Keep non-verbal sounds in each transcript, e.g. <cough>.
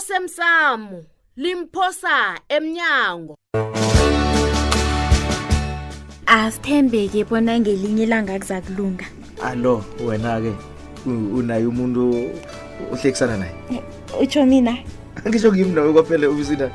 osemsamo limphosa emnyango asithembeke bona ngelinye ilanga kuza kulunga alo wena-ke u- unaye umuntu ohlekisana naye utsho mina angisho ngimi nawe kwaphela ubisina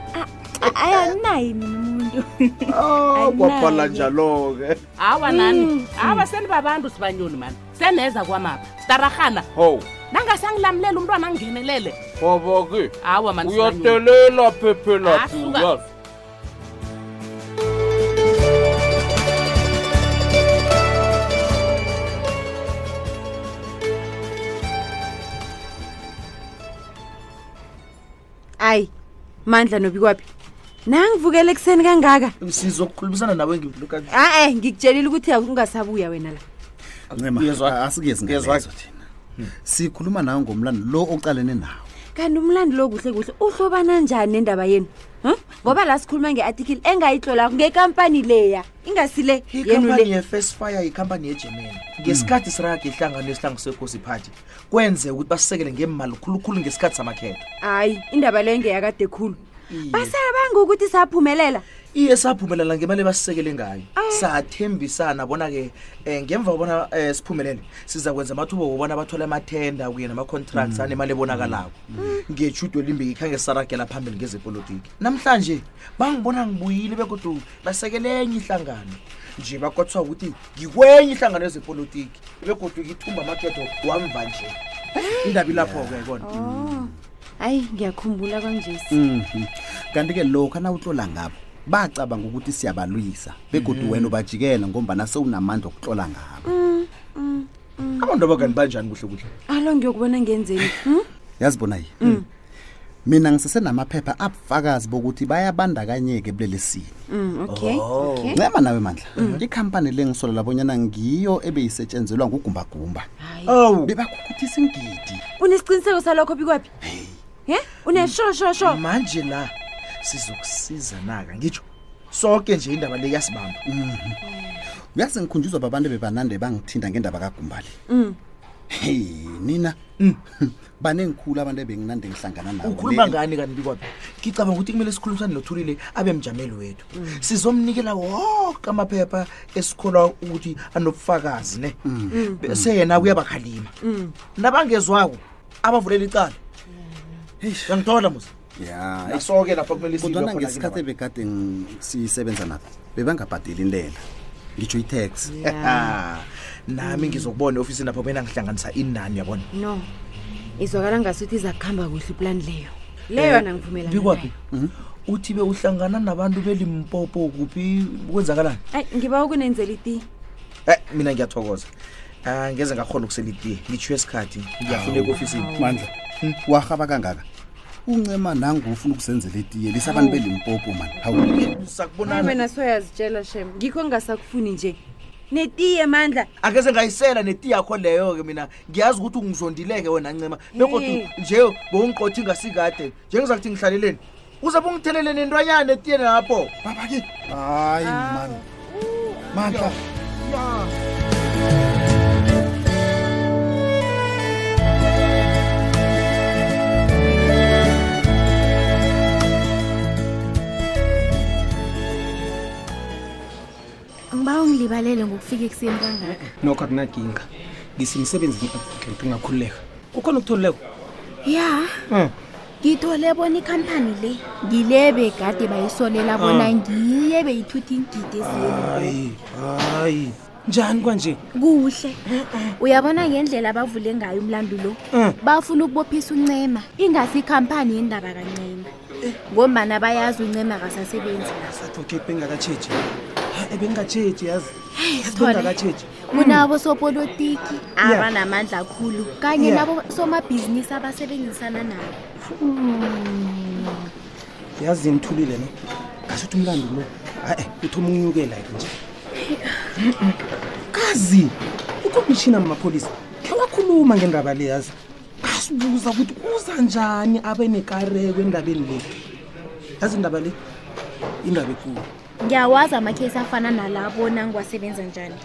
ayi anginaye mina umuntu Oh, Ayinaye. kwaphala njalo-ke Mm. hawa nani hawa senibabantu sibanyoni mani seneza kwamapha sitarahana hawu nangasangilamulela umntwana angingenelele baba-ke hawa mani sibanyoni. uyatelela phephelaphi Asuka. uyazi ayi mandla nobikwaphi nangivukele ekuseni kangaka sizokukhulumisana nawe ngilukuyezwa a-e ngikutshelile ukuthi ungasabuya wena la ncema asikezi ngalezo thina sikhuluma nawe ngomlando lo ocalene nawo <laughs> kanti umlandi lo kuhle kuhle uhlobana njani nendaba yenu Hm? ngoba la sikhuluma nge-athikili engayitlolako ngekampani leya ingasile yenu ikampani le ye-first fire yikampani yegermany ngesikhathi sirage ihlangano yesihlangu sekhosi party kwenzeka ukuthi basisekele ngemali khulukhulu ngesikhathi samakhetho hayi indaba leyo ngeyakade khulu Iye. basabanga ukuthi saphumelela iye saphumelela ngemali basisekele ngayo sathembisana bona-ke um ngemva kobona um siphumelele siza kwenza amathuba wobona bathole amathenda kuye nama-contracts anemali ebonakalako ngejudo elimbiki khange siragela phambili ngezepolitiki namhlanje bangibona ngibuyile bekodwa basekelenye ihlangano nje bakothwa ukuthi ngikwenye ihlangano yezepolitiki bekodwa ngithumba amakhetho wamva nje indaba ilapho-ke kona hayi ngiyakhumbula kwanjesi Mhm. kanti-ke lokhu anawutlola ngabo bacabanga ukuthi siyabalwisa begodwa wena ubajikela ngombana sewunamandla okutlola ngabo abantu abangani banjani kuhle kuhle alo ngiyokubona ngenzeni hm? yazibona yi mina ngisesenamaphepha abufakazi bokuthi bayabandakanyeka ebuleli sini Mm, okay okay ncema nawe mandla ikhampani le ngisola labonyana ngiyo ebeyisetshenzelwa ngugumbagumba ow bebakhukuthisa ingidi unesiqiniseko salokho bikwaphi ye uneshosho manje la sizokusiza naka ngitsho sonke nje indaba le yasibamba uyazi ngikhunjuzwa babantu bebanande bangithinta ngendaba kagumbali hey nina <laughs> banengikhulu abantu ebenginande ngihlangana nabo ukhuluma Le- ngani kanti kwabi ngicabanga ukuthi kumele sikhulumisane nothulile abe mjameli wethu sizomnikela wonke amaphepha esikholwa ukuthi anobufakazi ne bese yena kuyabakhalima nabangezwako abavulela icala uyangithola musa ya eish. naso-ke lapha kumele kodwana silwe khona ngesikhathi ke ebekade ngi- sisebenza nabo bebangabhadeli intela ngitsho itax <laughs> Ah, nami ngizokubona eofisini lapho kumele ngihlanganisa inani yabona no izwakala ngasuthi iza kuhamba kuhle iplani leyo leyo yona ngivumelanayo bikwaphi Mhm. uthi be uhlangana nabantu belimpopo kuphi kwenzakalani ayi ngiba ukunenzela iti Eh mina ngiyathokoza um ngeze ngakhona ukusela itiye ngitshiwe isikhathi ngiyafuneka ofisini mandla warhaba kangaka uncema nangufuna ukusenzela etiye lisabantu belimpopo mani hawu sakubonana soyazitshela shem ngikho ngingasakufuni nje netiye mandla akeze ngayisela netiye yakho leyo-ke mina ngiyazi ukuthi ungizondileke wena ncema bekodwa Hey. nje bowungiqothi ngasikade njengiza kuthi ngihlaleleni uzabe ungithelele nentwanyana netiye napho baba-ke hayi mani mandla ngiba ungilibalele ngokufika ekuseni kangaka nokho akunaginga ngisemsebenzini applicant ungakhululeka kukhona ukutholuleko ya um ngithole bona ikhampani le ngile begade bayisolela bona ngiye beyithutha iingidi eziyeni hayi njani kwanje kuhle Eh, uyabona ngendlela bavule ngayo umlando lo um bafuna ukubophisa uncema ingasi ikhampani yendaba kancema Eh. ngombana bayazi uncema akasasebenzi advocate bengingakatshetshi ebengingatshetshi eh, yazi Sithole. bengingakatshetshi kunabo sopolitiki Hmm. Yeah. abanamandla akhulu kanye Yeah. nabo somabhizinisi abasebenzisana nabo yazi ngithulile no ngasuthi umlando lo eh, ha-e uthoma unyukela-ke nje kazi ukomishina mapholisa khe wakhuluma ngendaba le yazi asibuza ukuthi uza njani abe nekareko endabeni le yazi indaba le indaba ekulu ngiyawazi amakhesi afana nalabona ngiwasebenza <laughs> njani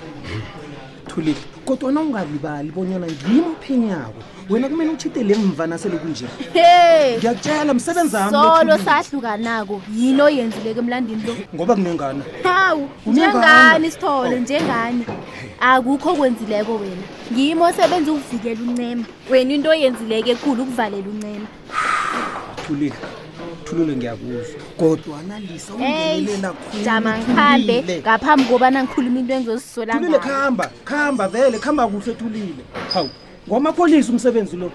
thulile kodwana ungalibali bonyana ngimo phenyako wena kumele utshitele mva nasele kunje he ngiyakutshela msebenzi wami lo, solo Thulile. sahlukanako yini oyenzileko emlandini lo ngoba kunengana hawu Kunengana. njengani sithole njengani akukho okwenzileko wena ngimi osebenza ukuvikela uncema wena into oyenzileko ekhulu ukuvalela uncema thulile thulule ngiyakuzwa kodwana lisa ungenelela khulu, jama ngihambe Thulile. ngaphambi kobana ngikhuluma into engizozisola thulile ngayo khamba khamba vele khamba kuhle thulile hawu ngwamapholisa umsebenzi lo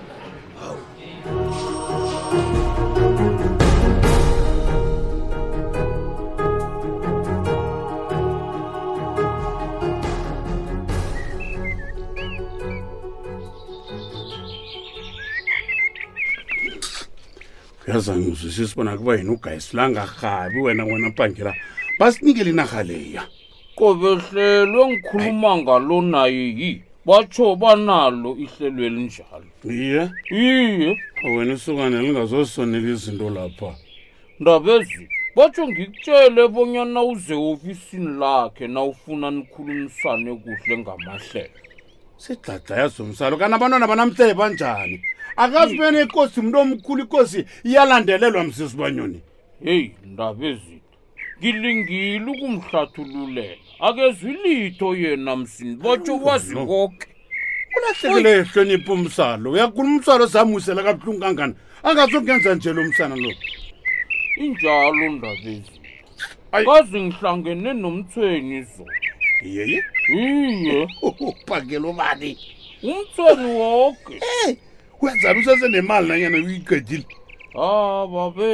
yaza ngizwisisa bona kuba yena ugayisilanga rhabi wena wena bhangela basinikele inarha leya qobehlelwe ngikhuluma ngalo naye yi batsho banalo ihlelo elinjalo iye iye wena isukane lingazosonela izinto lapha ndabezi batsho ngikutshele bonyana uze ofisini lakhe na ufuna nikhulumisane kuhle ngamahlela sidladla yazomsalo kanti abantwana banamhlele banjani akazi bena ikosi mntu omkhulu ikosi iyalandelelwa msisi banyoni heyi ndabezinto ngilingile ukumhlathululela akezwi litho yena msini batsho wazi no. koke ulahlekele ehlonipho umsalo uyakhuluma umsalo zamusela kabuhlungu kangani angazokungenza nje lo msana lo injalo ndabezi Ayi. kazi ngihlangene nomthweni zona yeye iye ubhakelo bani umthweni woke wenzani usesenemali nanyana uyiqedile ha babe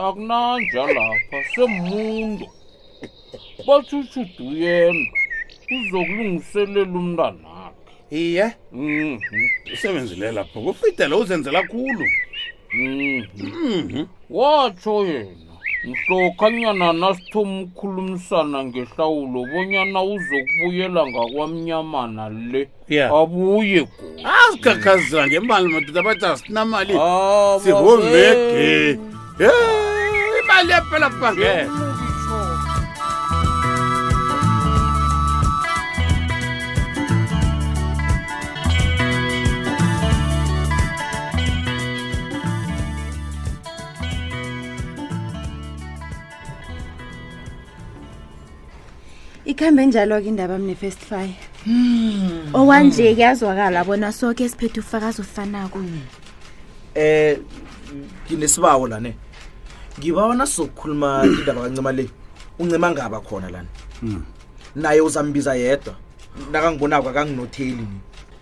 akunanja lapha semundo batshutshuduyenda uzokulungiselela umntanakhe iye Mhm, usebenzile lapho kufidele uzenzela khulu mhm. Mhm. watsho yena mhlokhanyana nasithomkhulumisana ngehlawulo bonyana uzokubuyela ngakwamnyamana le Ya. abuye godu azikhakhazela Ah, ngemali madoda bathi asinamali Ah, sivomege ye imali yaphela phangela ikhambe njalo-ke indaba mnefirst fire okwanje kuyazwakala bona soke siphethe ufakazi ofanako eh nginesibawo lane <clears throat> ngibawona sizokukhuluma indaba kancima le uncima ngaba khona lana Hmm. naye uzambiza yedwa nakangibonako akanginotheli mina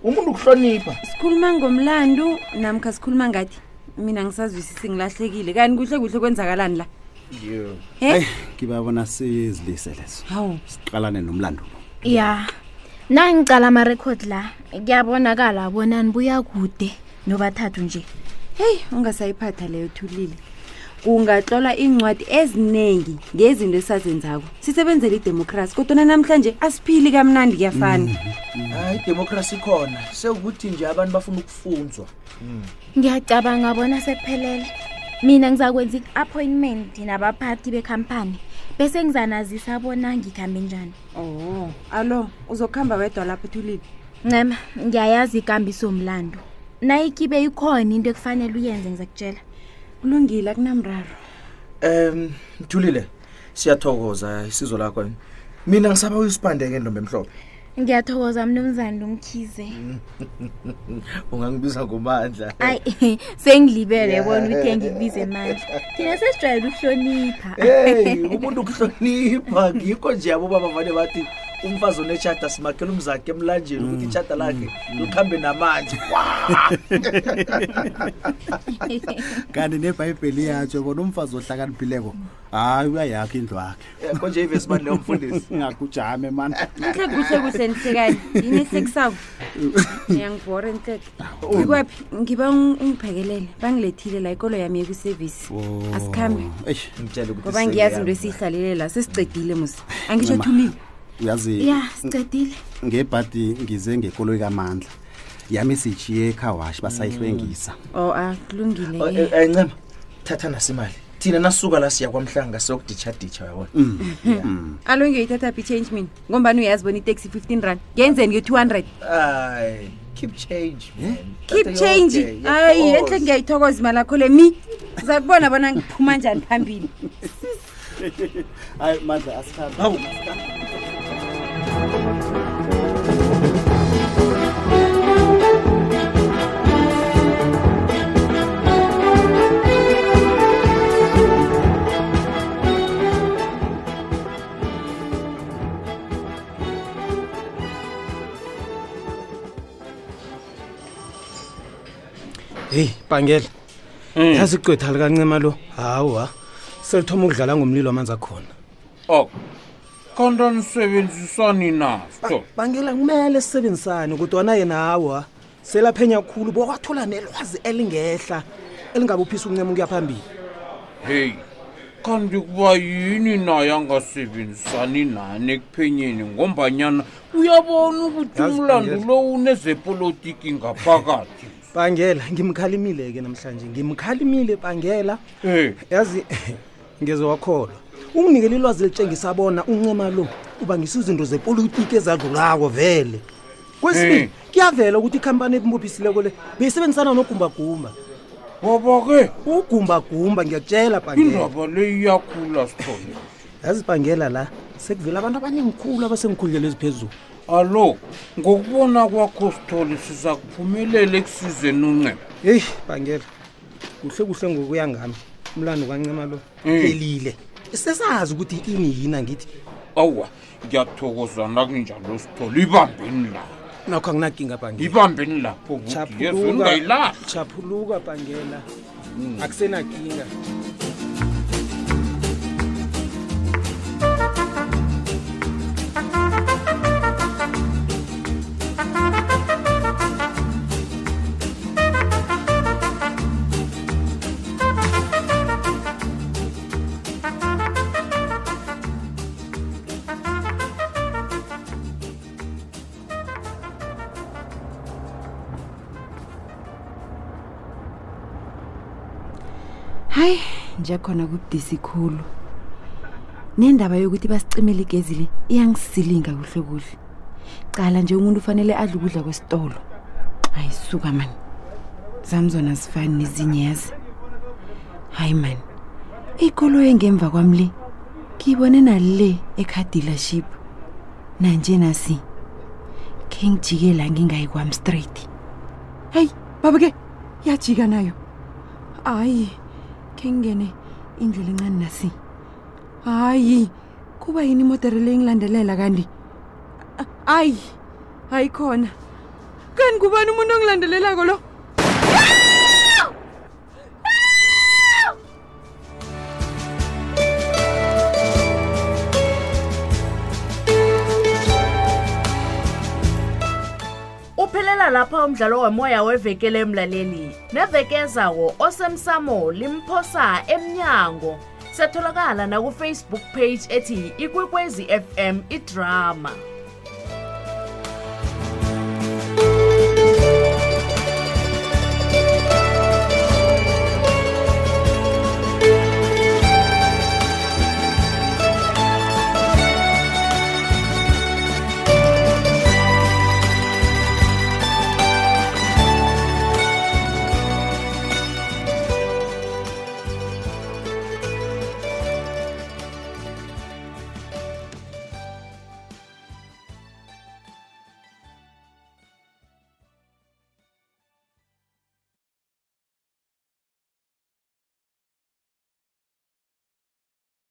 umuntu ukuhlonipha sikhuluma ngomlando namkha sikhuluma ngathi mina ngisazwisisi ngilahlekile kanti kuhle kuhle kwenzakalani la eyi Eh, ngibabona sizilise leso hawu siqalane nomlando lo ya nangicala amarekhodi la kuyabonakala bona nibuya kude nobathathu nje heyi ungasayiphatha leyo thulile kungatlola iincwadi eziningi ngezinto esazenzako sisebenzela idemokhrasi kodwana namhlanje asiphili kamnandi kuyafana hayi idemokhrasi ikhona sekukuthi nje abantu bafuna ukufunzwa ngiyacabanga bona sekuphelele mina ngizakwenza i-appointment nabaphathi bekhampani bese ngizanazisa bona ngikhambe njani oh alo uzokuhamba wedwa lapho thulile ncema ngiyayazi ikambiso mlando nayikibe ikhona into ekufanele uyenze ngizakutshela kulungile akunamraro um mthulile siyathokoza isizo lakho mina ngisaba uyisibandeke ndombe emhlophe ngiyathokoza mnumzane lomkhize ungangibiza ngomandla ayi <laughs> sengilibele bona uthe ngikubize mandla thina sesijwayele ukuhlonipha Hey, umuntu ukuhlonipha ngikho nje yabo baba vane bathi umfazi onetshata simakhela umzakhe emlanjeni ukuthi Mm, itshata lakhe likhambe namanzi kanti nebhayibheli yatsho bona umfazi ohlakaniphileko hayi uyayakha indlu akhe yakho nje ivesi bani leyo mfundisi ngakujame mana kuhle kuhle kuhle nihlekani yini esekusako ngiyangibhora enhleke ikwaphi ngiba ung- ungiphekelele bangilethile la ikolo yami yekusevisi asikhambe eish ngitshela ukuthi ngoba ngiyazi into esiyihlalele la sesicedile musi angisho Mama. thulile uyazi ya sicedile ngebhadi ngize ngekoloyi kamandla yami Oh, sijiye ekhawashi basayihlwengisa Oh, Eh, o a kulungile-ke encema thatha nasimali thina nasuka la siya kwamhlanga siyokuditshaditsha yabona Mm. alo ngiyoyithatha phi i-change mina ngombani uyazi bona itaxi 15 rand ngenze ngiyo-two hundred ay keep change man. keep Thatha change yonke, hayi yokhozi. enhle ngiyayithokoza imali akho le mi zakubona bona ngiphuma njani phambili hayi mandla asikhambe Hawu. heyi bangela yazi igqwetha likancema lo hawa selithoma ukudlala ngomlilo wamanzi akhona ok kanti nisebenzisani naso bangela kumele sisebenzisane kodwana yena hawa selaphenya khulu bokwathola nelwazi elingehla elingabuphisa ukuncema ukuya phambili heyi kanti kuba yini naye angasebenzisani nani ekuphenyeni ngombanyana uyabona ukuthi Yazi, umlando Bhangela. lo unezepolitiki ngaphakathi bangela ngimkhalimile ke namhlanje ngimkhalimile bangela Eh. yazi <laughs> ngezowakholwa unginikela ilwazi litshengisa bona uncema lo uba ngiso izinto zepolitiki ezadlulako vele Eh. kwesibili kuyavela ukuthi ikhampani ebumbophisileko le beyisebenzisana nogumbagumba waba-ke ugumbagumba ngiyakutshela bangela indaba le iyakhula sithole yazi bangela la sekuvela abantu abaningikhulu abasengikhululelo eziphezulu alo ngokubona kwakho sithole siza kuphumelela ekusizeni unceba heyi bangela kuhle kuhle ngokuya ngami umlando kancema lo Eh. phelile sesazi ukuthi ini yina ngithi awa ngiyathokoza nakunjalo sithole ibambeni lapho nakho anginakinga bangela ibambeni lapho buti yezo ungayilahli chaphuluka bangela Hmm. akusenakinga hayi nje khona kubudisi khulu nendaba yokuthi basicimele igezi le iyangisilinga kuhle kuhle cala nje umuntu ufanele adle ukudla kwesitolo hayi suka mani zami zona zifani nezinye yazi hayi mani ikolo engemva kwami le ngiyibone nale ekhadilership nanje nasi khe ngijike la ngingayi kwami straight hayi baba ke yajika nayo hayi khe ngingene indlela encane nasi hayi kuba yini imodere le ingilandelela kanti hayi hayi khona kanti kubani umuntu ongilandelelako lo uphelela lapha umdlalo womoya wevekele emlaleli nevekezawo osemsamo limphosa emnyango setholakala nakufacebook page ethi ikwekwezi fm idrama